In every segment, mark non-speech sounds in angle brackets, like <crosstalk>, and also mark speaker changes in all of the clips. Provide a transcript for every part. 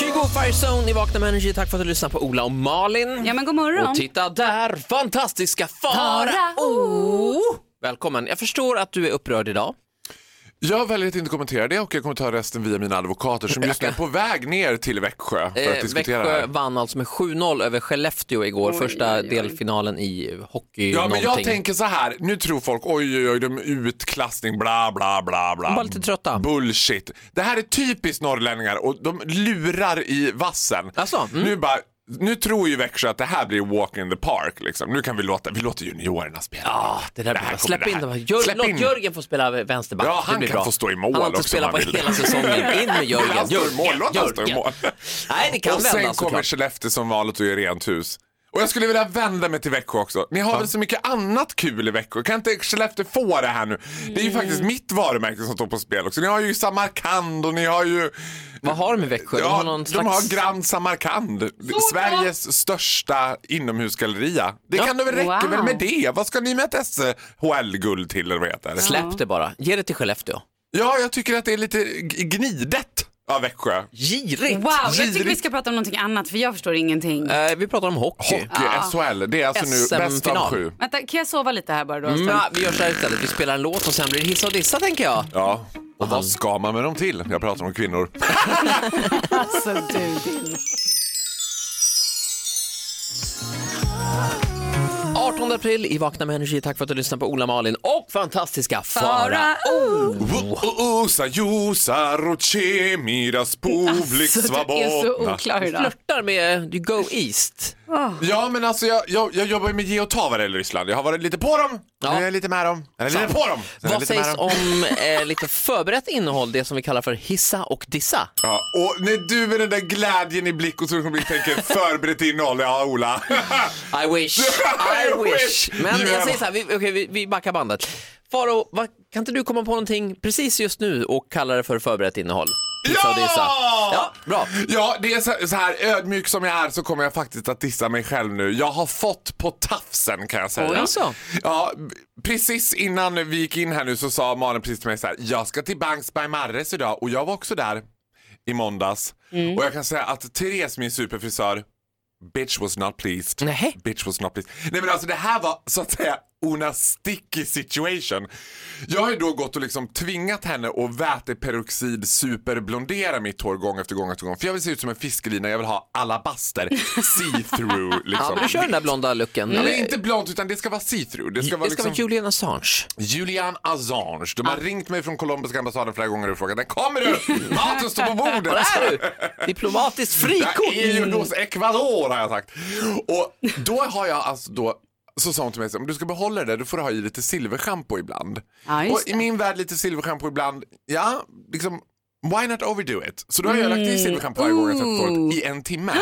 Speaker 1: Kygo Firezone i Vakna med Energy. Tack för att du lyssnar på Ola och Malin.
Speaker 2: Ja, men god morgon.
Speaker 1: Och titta där, fantastiska Farao! Oh! Välkommen. Jag förstår att du är upprörd idag.
Speaker 3: Jag väljer att inte kommentera det och jag kommer ta resten via mina advokater som just
Speaker 1: <laughs>
Speaker 3: nu är på väg ner till Växjö för att
Speaker 1: Eh,
Speaker 3: diskutera det
Speaker 1: Växjö
Speaker 3: här.
Speaker 1: vann alltså med 7-0 över Skellefteå igår,
Speaker 2: Oj,
Speaker 1: första
Speaker 2: oj, oj.
Speaker 1: delfinalen i hockey
Speaker 3: Ja, men
Speaker 1: någonting.
Speaker 3: jag tänker så här, nu tror folk oj, oj, oj, de är utklassning, bla, bla, bla, bla.
Speaker 1: De var lite trötta.
Speaker 3: Bullshit. Det här är typiskt norrlänningar och de lurar i vassen.
Speaker 1: Alltså, mm.
Speaker 3: Nu bara, nu tror ju Växjö att det här blir walk in the park. Liksom. Nu kan vi låta, vi låter juniorerna spela.
Speaker 1: Ja, det där
Speaker 3: Det
Speaker 1: blir
Speaker 3: här
Speaker 1: bra.
Speaker 3: kommer
Speaker 1: Släpp
Speaker 3: det
Speaker 1: in
Speaker 3: här.
Speaker 1: dem. Jör-
Speaker 3: Släpp
Speaker 1: Låt
Speaker 3: in.
Speaker 1: Jörgen få spela vänsterback.
Speaker 3: Ja, han
Speaker 1: det blir
Speaker 3: kan
Speaker 1: bra.
Speaker 3: få stå i mål
Speaker 1: Han har inte
Speaker 3: också,
Speaker 1: spelat
Speaker 3: om
Speaker 1: på
Speaker 3: han vill.
Speaker 1: hela säsongen. In med Jörgen.
Speaker 3: Han står i mål, låt han stå i
Speaker 1: Jörgen.
Speaker 3: mål.
Speaker 1: Nej, det kan
Speaker 3: och sen
Speaker 1: vända
Speaker 3: kommer
Speaker 1: såklart.
Speaker 3: Skellefteå som vanligt och gör rent hus. Och jag skulle vilja vända mig till Växjö också. Ni har väl så mycket annat kul i Växjö? Kan inte Skellefteå få det här nu? Det
Speaker 1: Mm.
Speaker 3: är ju faktiskt mitt varumärke som står på spel också. Ni har ju Samarkand och ni har ju...
Speaker 1: Vad har de med Växjö?
Speaker 3: Ja,
Speaker 1: de har någon
Speaker 3: de
Speaker 1: slags...
Speaker 3: har Grand Samarkand. Sveriges största inomhusgalleria. Det
Speaker 1: Ja.
Speaker 3: kan det väl räcka
Speaker 2: Wow.
Speaker 3: väl med det? Vad ska ni med ett SHL-guld till eller vad det heter?
Speaker 1: Släpp det bara. Ge det till Skellefteå.
Speaker 3: Ja, jag tycker att det är lite g- gnidet av Växjö.
Speaker 1: Girigt!
Speaker 2: Wow, jag tycker vi
Speaker 3: Girigt.
Speaker 2: ska prata om någonting annat för jag förstår ingenting.
Speaker 1: Eh, vi pratar om hockey.
Speaker 3: Hockey, SHL, det är alltså nu bäst
Speaker 1: SM-final.
Speaker 3: av sju.
Speaker 2: Vänta, kan jag sova lite här bara då? en
Speaker 1: Mm,
Speaker 2: stund?
Speaker 1: ja, vi gör så här istället. Vi spelar en låt och sen blir det hissa och dissa, tänker jag.
Speaker 3: Ja, och vad ska man med dem till? Jag pratar om kvinnor.
Speaker 2: Alltså du din.
Speaker 1: 18 april i Vakna med Energy. Tack för att du lyssnar på Ola Malin och fantastiska Farao.
Speaker 2: Fara.
Speaker 3: Usa jusa roche miras public
Speaker 2: Alltså, du är så
Speaker 3: svabona.
Speaker 2: oklar idag.
Speaker 1: Flörtar med You Go East.
Speaker 3: Ja men alltså jag, jag, jag jobbar ju med ge och ta vad det gäller Ryssland. Jag har varit lite på dem,
Speaker 1: Ja.
Speaker 3: nu är jag lite med dem. Eller lite
Speaker 1: Sant.
Speaker 3: på dem. sen är jag
Speaker 1: Vad
Speaker 3: lite med
Speaker 1: sägs
Speaker 3: dem.
Speaker 1: om eh, lite förberett innehåll, det som vi kallar för hissa och dissa?
Speaker 3: Ja, och när du med den där glädjen i blick och solskensblick tänker förberett innehåll, ja Ola.
Speaker 1: I wish, I
Speaker 3: I
Speaker 1: wish.
Speaker 3: wish.
Speaker 1: Men jag
Speaker 3: Yeah.
Speaker 1: säger så här, vi, okej, vi, vi backar bandet. Faro, vad- kan inte du komma på någonting precis just nu och kalla det för förberett innehåll? Hissa och dissa.
Speaker 3: Ja!
Speaker 1: Ja, bra.
Speaker 3: Ja, det är så- så här ödmjuk som jag är så kommer jag faktiskt att dissa mig själv nu. Jag har fått på tafsen kan jag
Speaker 1: Oj,
Speaker 3: säga.
Speaker 1: alltså.
Speaker 3: Ja, b- precis innan vi gick in här nu så sa Malin precis till mig så här. Jag ska till Banks by Marres idag och jag var också där i måndags. Och jag kan säga att Therese, min superfrisör, bitch was not pleased.
Speaker 1: Nej.
Speaker 3: Bitch was not pleased. Nej men alltså det här var så att säga una sticky situation. Jag har ju då gått och liksom tvingat henne att väteperoxid superblondera mitt hår gång efter gång efter gång. För jag vill se ut som en fiskelina, jag vill ha
Speaker 1: <laughs>
Speaker 3: alabaster, see-through
Speaker 1: Ja,
Speaker 3: liksom.
Speaker 1: men du kör den där blonda looken.
Speaker 3: Nej,
Speaker 1: Eller-
Speaker 3: men inte blont utan det ska vara see-through. Det ska vara,
Speaker 1: det ska vara
Speaker 3: liksom
Speaker 1: Julian Assange.
Speaker 3: Julian Assange. De har ringt mig från colombiska ambassaden flera gånger och frågat när
Speaker 1: <laughs>
Speaker 3: kommer du? Maten står på bordet!
Speaker 1: Var är du? Diplomatiskt frikort.
Speaker 3: Jag är ju hos Ecuador har jag sagt. Och då har jag alltså då så sa hon till mig, så här, om du ska behålla det där, då får du ha i lite silverschampo ibland.
Speaker 2: Ja, just
Speaker 3: och i min värld lite silverschampo ibland, ja, liksom why not overdo it? Så då har jag lagt
Speaker 2: Mm.
Speaker 3: i silverschampo varje gång jag tvättat håret i en timme.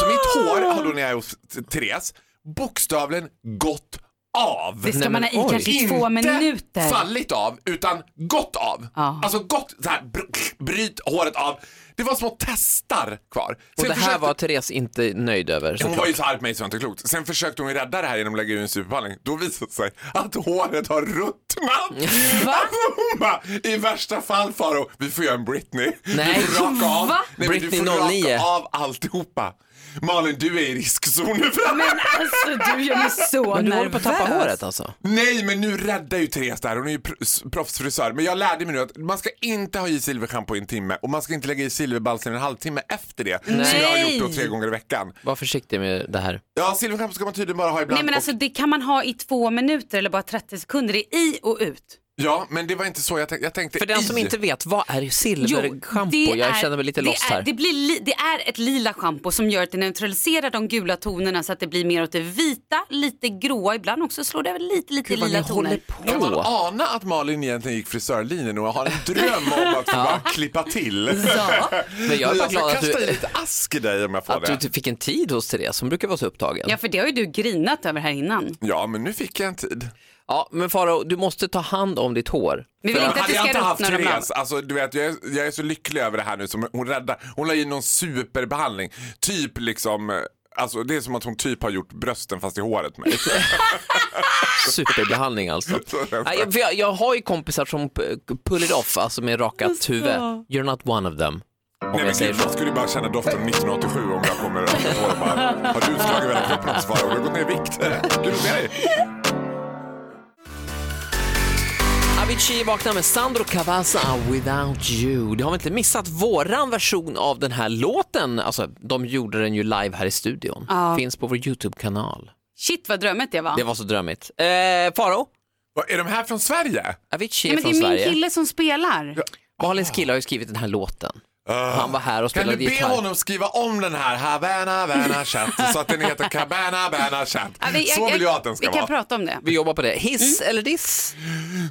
Speaker 3: Så mitt hår har då när jag är hos Therese bokstavligen gått av.
Speaker 2: Det ska man ha
Speaker 1: Nej, men
Speaker 2: i kanske
Speaker 3: Inte
Speaker 2: två minuter.
Speaker 3: fallit av, utan gått av.
Speaker 2: Ja.
Speaker 3: Alltså gått, så här, br- bryt håret av. Det var små testar kvar.
Speaker 1: Och
Speaker 3: Sen
Speaker 1: det här
Speaker 3: försökte-
Speaker 1: var Therese inte nöjd över.
Speaker 3: hon
Speaker 1: såklart.
Speaker 3: var ju så arg på mig så det var inte klokt. Sen försökte hon ju rädda det här genom att lägga ur en superbehandling. Då visade det sig att håret
Speaker 1: <laughs>
Speaker 3: har ruttnat. Alltså <laughs> hon bara, i värsta fall Faro, vi får göra en Britney.
Speaker 1: Nej.
Speaker 3: Du får raka av.
Speaker 2: Va?
Speaker 3: Nej, men
Speaker 1: Britney
Speaker 3: du får
Speaker 1: 09.
Speaker 3: raka av alltihopa. Malin, du är i riskzonen för det här.
Speaker 2: Men alltså du gör mig så
Speaker 1: Men du håller
Speaker 2: nervös.
Speaker 1: på att tappa håret alltså?
Speaker 3: Nej, men nu räddar ju Therese det här. Hon är ju pr- s- proffsfrisör. Men jag lärde mig nu att man ska inte ha i silverschampo i en timme och man ska inte lägga i silverbalsam i en halvtimme efter det. Som jag har gjort då tre gånger i veckan.
Speaker 1: Var försiktig med det här.
Speaker 3: Ja, silverschampo ska man tydligen bara ha ibland.
Speaker 2: Nej men
Speaker 3: och-
Speaker 2: alltså det kan man ha i två minuter eller bara 30 sekunder. Det är i och ut.
Speaker 3: Ja, men det var inte så jag tänkte. Jag tänkte
Speaker 1: För den som
Speaker 3: i.
Speaker 1: inte vet, vad är silverschampo?
Speaker 2: det
Speaker 1: Jag
Speaker 2: är-
Speaker 1: känner mig lite
Speaker 2: det
Speaker 1: lost
Speaker 2: är,
Speaker 1: här.
Speaker 2: Det, blir li, det är ett lila schampo som gör att det neutraliserar de gula tonerna så att det blir mer åt det vita, lite gråa, ibland också slår det över lite, lite
Speaker 1: Gud, vad
Speaker 2: lila
Speaker 1: ni håller
Speaker 2: toner.
Speaker 3: Kan man
Speaker 1: på.
Speaker 3: ana att Malin egentligen gick frisörlinjen och har en dröm om
Speaker 1: <laughs>
Speaker 3: att få bara klippa till?
Speaker 2: Ja.
Speaker 1: Men jag är bara
Speaker 3: jag
Speaker 1: glad
Speaker 3: ska
Speaker 1: att
Speaker 3: kasta i
Speaker 1: du,
Speaker 3: lite ask i dig om jag får
Speaker 1: att du
Speaker 3: det.
Speaker 1: inte fick en tid hos Therese. Hon brukar vara så upptagen.
Speaker 2: ja, för det har ju du grinat över här innan.
Speaker 3: Ja, men nu fick jag en tid.
Speaker 1: Ja, men Faro, du måste ta hand om ditt hår.
Speaker 2: Vi vill inte att
Speaker 3: Hade
Speaker 2: det
Speaker 3: jag
Speaker 2: ska
Speaker 3: inte haft
Speaker 2: ruttna de
Speaker 3: Therese, alltså, du vet, jag, är, jag är så lycklig över det här nu som hon räddar. Hon la in någon superbehandling. Typ liksom, eh, alltså det är som att hon typ har gjort brösten fast i håret <laughs> med.
Speaker 1: Superbehandling
Speaker 3: <laughs>
Speaker 1: alltså. Nej, jag- för jag, jag har ju kompisar som p- pull it off, alltså med rakat huvud. You're not one of them. Om
Speaker 3: Nej, men
Speaker 1: jag säger
Speaker 3: gud, jag
Speaker 1: så.
Speaker 3: skulle bara känna doften 1987 om jag kommer och hår och bara, har du slagit hela kroppen åt svaret? Har du gått ner i vikt? Du med dig?
Speaker 1: Avicii vaknar med Sandro Cavazza Without You. Det har vi inte missat våran version av den här låten. Alltså, de gjorde den ju live här i studion.
Speaker 2: Ja.
Speaker 1: Finns på vår YouTube-kanal.
Speaker 2: Shit vad drömmet det var.
Speaker 1: Det var så drömmigt. Eh, Faro,
Speaker 3: Vad, Är de här från Sverige?
Speaker 1: Avicii
Speaker 2: Nej,
Speaker 1: är
Speaker 2: men det
Speaker 1: från
Speaker 2: är min
Speaker 1: Sverige.
Speaker 2: kille som spelar.
Speaker 1: Malins kille har ju skrivit den här låten.
Speaker 3: Ah.
Speaker 1: Han var här och
Speaker 3: Kan
Speaker 1: spelade
Speaker 3: du be
Speaker 1: gitarr.
Speaker 3: honom skriva om den här Havana Bana Chat så att den heter Cabana Bana Chat?
Speaker 2: Ja, vi-
Speaker 3: Så vill jag att den ska
Speaker 2: Vi kan
Speaker 3: vara.
Speaker 2: prata om det.
Speaker 1: Vi jobbar på det. Hiss
Speaker 2: Mm.
Speaker 1: eller diss?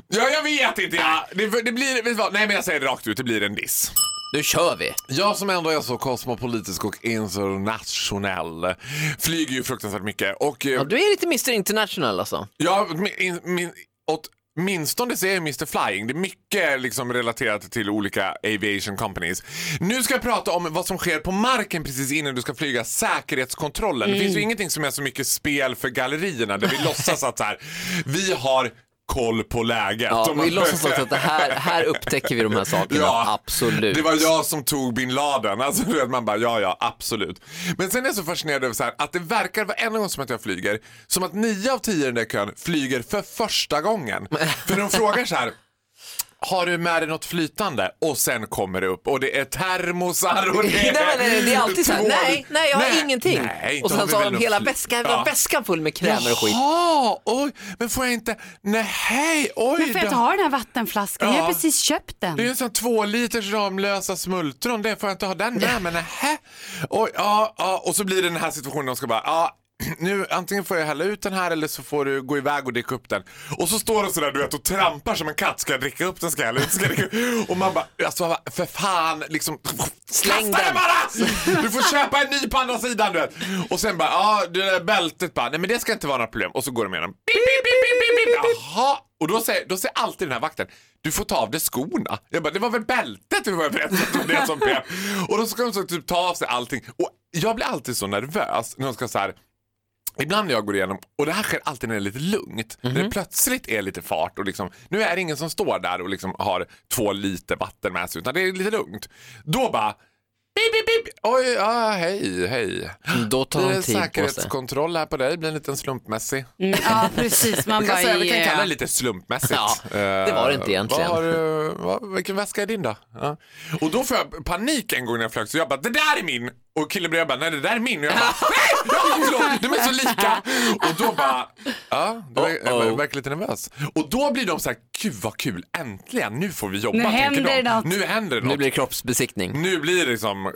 Speaker 3: Ja, jag vet inte. Ja. Det, det blir, vet du vad? Nej, men jag säger det rakt ut. Det blir en diss.
Speaker 1: Nu kör vi!
Speaker 3: Jag som ändå är så kosmopolitisk och internationell flyger ju fruktansvärt mycket. Och, eh,
Speaker 1: Ja, du är lite Mr International alltså.
Speaker 3: Ja, min, in- min, åtminstone så är jag Mr Flying. Det är mycket liksom relaterat till olika aviation companies. Nu ska jag prata om vad som sker på marken precis innan du ska flyga. Säkerhetskontrollen. Det
Speaker 1: Mm.
Speaker 3: finns ju ingenting som är så mycket spel för gallerierna där vi låtsas att så här, vi har koll på läget.
Speaker 1: Ja,
Speaker 3: Om
Speaker 1: vi
Speaker 3: man-
Speaker 1: låtsas också att det här, här upptäcker vi de här sakerna, absolut.
Speaker 3: det var jag som tog bin Laden. Alltså, du vet, man bara, ja, ja, absolut. Men sen är jag så fascinerad över så här, att det verkar varenda gång som att jag flyger, som att nio av tio i den där kön flyger för första gången. För de frågar så här, har du med dig något flytande? Och sen kommer det upp och det är termosar och det
Speaker 1: <laughs> Nej,
Speaker 3: är
Speaker 1: nej, nej, det är alltid så här,
Speaker 3: tvål.
Speaker 1: nej, nej, jag har ingenting.
Speaker 3: nej, inte
Speaker 1: och sen
Speaker 3: vi
Speaker 1: så har
Speaker 3: väl
Speaker 1: de
Speaker 3: något
Speaker 1: hela
Speaker 3: flyt-
Speaker 1: väskan,
Speaker 3: Ja.
Speaker 1: hela väskan full med krämer och skit.
Speaker 3: Jaha, oj, men får jag inte, nej, oj
Speaker 2: Men får jag
Speaker 3: då.
Speaker 2: inte ha den här vattenflaskan? Jag har
Speaker 3: Ja.
Speaker 2: precis köpt den.
Speaker 3: Det är en sån två liters Ramlösa smultron, det får jag inte ha den med. Men nähä. Oj, ja, ja. Och så blir det den här situationen, de ska bara, ja, nu antingen får jag hälla ut den här eller så får du gå iväg och dricka upp den. Och så står de sådär du vet och trampar som en katt, ska jag dricka upp den, ska jag hälla ut, ska jag dricka upp? Och man bara, alltså man bara, för fan, liksom,
Speaker 1: Släng
Speaker 3: kasta
Speaker 1: den.
Speaker 3: bara! Du får köpa en ny på andra sidan du vet. Och sen bara, ja det där bältet bara, nej men det ska inte vara några problem. Och så går de igenom. Pip, pip, pip, pip, pip, pip. Jaha, och då säger, då säger alltid den här vakten, du får ta av dig skorna. Jag bara, det var väl bältet vi var överens om, det var det som pep. Och då ska de så typ ta av sig allting. Och jag blir alltid så nervös när de ska så här Ibland när jag går igenom, och det här sker alltid när det är lite lugnt, när
Speaker 1: Mhm.
Speaker 3: det plötsligt är lite fart och liksom, nu är det ingen som står där och liksom har två liter vatten med sig utan det är lite lugnt. Då bara, bip, bip, bip. oj, ja, hej, hej.
Speaker 1: Då tar
Speaker 3: Blir
Speaker 1: de
Speaker 3: det
Speaker 1: tid på sig.
Speaker 3: säkerhetskontroll här på dig? Blir en liten slumpmässig?
Speaker 2: Mm, ja, precis. Man
Speaker 3: Vi kan,
Speaker 2: bara,
Speaker 3: säga, vi kan
Speaker 2: yeah.
Speaker 3: kalla det lite slumpmässigt.
Speaker 1: Ja, det var det inte
Speaker 3: Eh,
Speaker 1: egentligen.
Speaker 3: Vad har, du- vad, vilken väska är din då? Ja. Och då får jag panik en gång när jag flög så jag bara det där är min! Och killen bredvid bara nej det där är min. Och jag bara nej! Ja, förlåt, de är så lika! Och då bara ja, du ver-
Speaker 1: Uh-oh.
Speaker 3: jag verkar lite nervös. Och då blir de så här gud vad kul äntligen nu får vi jobba
Speaker 2: Nu
Speaker 3: tänker
Speaker 2: händer
Speaker 3: de.
Speaker 2: det något.
Speaker 3: Nu händer det
Speaker 1: Nu
Speaker 3: något.
Speaker 1: blir det kroppsbesiktning.
Speaker 3: Nu blir det liksom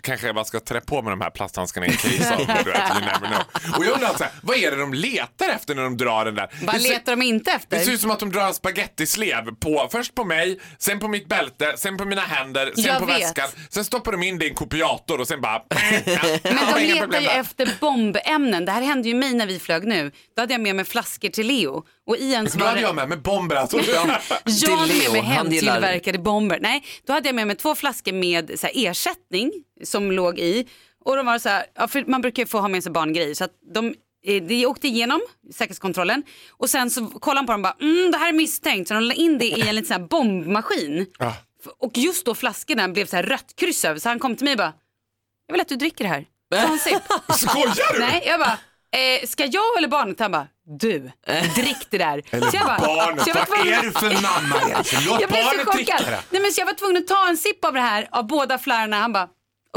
Speaker 3: Kanske jag bara ska trä på mig de här plasthandskarna i en case av mig, du vet, you never know. Och jag undrar, så här, vad är det de letar efter när de drar den där?
Speaker 2: Vad
Speaker 3: Det ser-
Speaker 2: letar de inte
Speaker 3: det ser
Speaker 2: efter?
Speaker 3: ut som att de drar en spagettislev på, först på mig, sen på mitt bälte, sen på mina händer, sen
Speaker 2: Jag
Speaker 3: på
Speaker 2: vet.
Speaker 3: väskan. Sen stoppar de in det i en kopiator och sen bara...
Speaker 2: <laughs>
Speaker 3: <laughs>
Speaker 2: Men de letar ju efter bombämnen. Det här hände ju mig när vi flög nu. Då hade jag med mig flaskor till Leo. Och i en så
Speaker 3: Då
Speaker 2: var
Speaker 3: hade
Speaker 2: det...
Speaker 3: jag med mig
Speaker 2: <laughs>
Speaker 3: bomber alltså. <laughs>
Speaker 2: Jag hade
Speaker 1: Till
Speaker 2: med mig
Speaker 1: Leo, han gillar-
Speaker 2: hemtillverkade bomber. Nej, då hade jag med mig två flaskor med så här, ersättning som låg i. Och de var så här, ja, för man brukar ju få ha med sig barngrejer. Så att de, eh, de åkte igenom säkerhetskontrollen och sen så kollade han på dem och bara, mm, det här är misstänkt. Så de la in det i en liten så här bombmaskin.
Speaker 3: Ah.
Speaker 2: F- Och just då flaskorna blev så här rött kryss över så han kom till mig och bara, jag vill att du dricker det här. Ta en sipp.
Speaker 3: Skojar du?
Speaker 2: Nej, jag bara, eh, ska jag eller barnet? Han bara, du, drick det där. Eller så jag bara, så
Speaker 3: Barnet,
Speaker 2: jag var
Speaker 3: vad
Speaker 2: tvungen-
Speaker 3: är du för mamma egentligen? Låt
Speaker 2: jag blev så
Speaker 3: barnet dricka
Speaker 2: chockad.
Speaker 3: det.
Speaker 2: Nej, men så jag var tvungen att ta en sipp av det här av båda flarrorna. Han bara,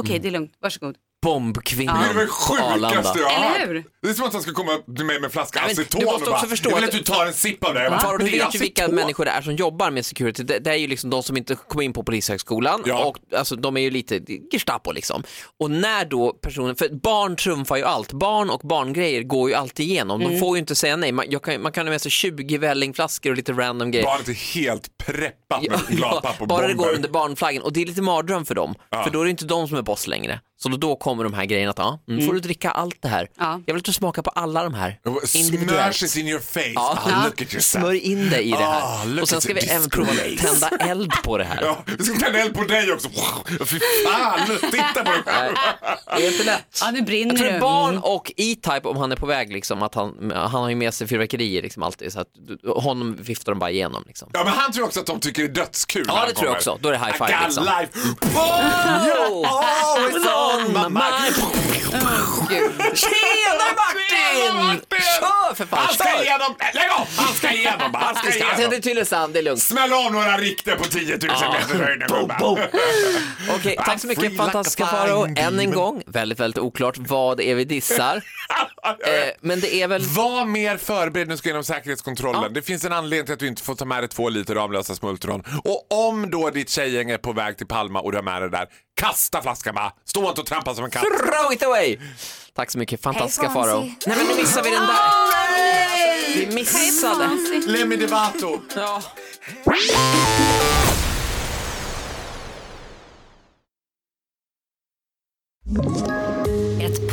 Speaker 2: okej det är lugnt, varsågod.
Speaker 1: Bombkvinnan
Speaker 3: Det är det
Speaker 1: på Arlanda.
Speaker 3: sjukaste jag har
Speaker 2: Eller hur?
Speaker 3: hört. Det är som att han ska komma till mig med en flaska
Speaker 1: Nej, men
Speaker 3: aceton
Speaker 1: du
Speaker 3: och
Speaker 1: måste också
Speaker 3: bara,
Speaker 1: förstå
Speaker 3: jag vill
Speaker 1: att-
Speaker 3: att du tar en sipp av det här. Va?
Speaker 1: Farao, du
Speaker 3: Det är alltså
Speaker 1: vet ju vilka
Speaker 3: aceton.
Speaker 1: människor det är som jobbar med security. Det, det är ju liksom de som inte kom in på Polishögskolan
Speaker 3: Ja.
Speaker 1: och alltså, de är ju lite Gestapo liksom. Och när då personen, för barn trumfar ju allt, barn och barngrejer går ju alltid igenom.
Speaker 3: Mm.
Speaker 1: De får ju inte säga nej, man, jag kan, man kan ha med sig 20 vällingflaskor och lite random grejer.
Speaker 3: Barnet är helt preppat med
Speaker 1: <laughs> Ja,
Speaker 3: gladpapp och
Speaker 1: bara det
Speaker 3: bomber.
Speaker 1: går under barnflaggen och det är lite mardröm för dem, för då är det inte de som är boss längre. Så då, då kommer de här grejerna att, ja, mm, får du dricka allt det här.
Speaker 2: Ja.
Speaker 1: Jag vill att du smakar på alla de här. individuellt.
Speaker 3: Smash it in your face.
Speaker 1: Ja.
Speaker 3: Ah, look at yourself.
Speaker 1: Smörj in dig i det
Speaker 3: Ah,
Speaker 1: här.
Speaker 3: look
Speaker 1: Och sen
Speaker 3: at
Speaker 1: ska
Speaker 3: your
Speaker 1: vi även prova att
Speaker 3: disgrace.
Speaker 1: tända eld på det här.
Speaker 3: <laughs> Ja, vi ska tända eld på dig också. Wow, Fy fan, titta på dig själv.
Speaker 1: Det är inte lätt.
Speaker 2: Ja, nu brinner
Speaker 1: Ah, Jag tror det
Speaker 2: du.
Speaker 1: är barn och E-Type om han är på väg, liksom, att han, han har ju med sig fyrverkerier liksom, alltid, så att du- honom viftar de bara igenom. Liksom.
Speaker 3: Ja, men han tror också att de tycker det är dötskul.
Speaker 1: Ja,
Speaker 3: när
Speaker 1: det
Speaker 3: han
Speaker 1: tror jag
Speaker 3: kommer.
Speaker 1: också. Då är det high
Speaker 3: I
Speaker 1: five,
Speaker 3: got
Speaker 1: liksom.
Speaker 3: life. Oh, always on my mind.
Speaker 1: <laughs> Tjena
Speaker 3: Tjena,
Speaker 1: Martin!
Speaker 3: Martin!
Speaker 1: Kör för fan,
Speaker 3: Han ska
Speaker 1: kör!
Speaker 3: igenom! Lägg av! Han ska igenom! bara. Han ska
Speaker 1: Han ska till
Speaker 3: igenom!
Speaker 1: Tylösand, det är lugnt.
Speaker 3: Smäll av några rikter på 10 000 meters höjd nu <laughs> gubbar.
Speaker 1: Okej, tack så
Speaker 3: Free
Speaker 1: mycket
Speaker 3: like
Speaker 1: fantastiska
Speaker 3: a flying
Speaker 1: Farao. Än en
Speaker 3: demon.
Speaker 1: gång, väldigt, väldigt oklart vad det är vi <laughs> dissar. Eh, Men det är väl...
Speaker 3: Var mer förberedd när du ska genom säkerhetskontrollen. Det finns en anledning till att du inte får ta med dig två liter Ramlösa smultron. Och om då ditt tjejgäng är på väg till Palma och du har med dig det där, kasta flaskan bara. Stå inte och trampa som en katt.
Speaker 1: Throw it away! Tack så mycket fantastiska
Speaker 4: Hej, Fonzie.
Speaker 1: Farao. Nej men nu missar vi den där. Vi missade.
Speaker 3: Lemmy Devato.
Speaker 1: Ja.
Speaker 5: Ett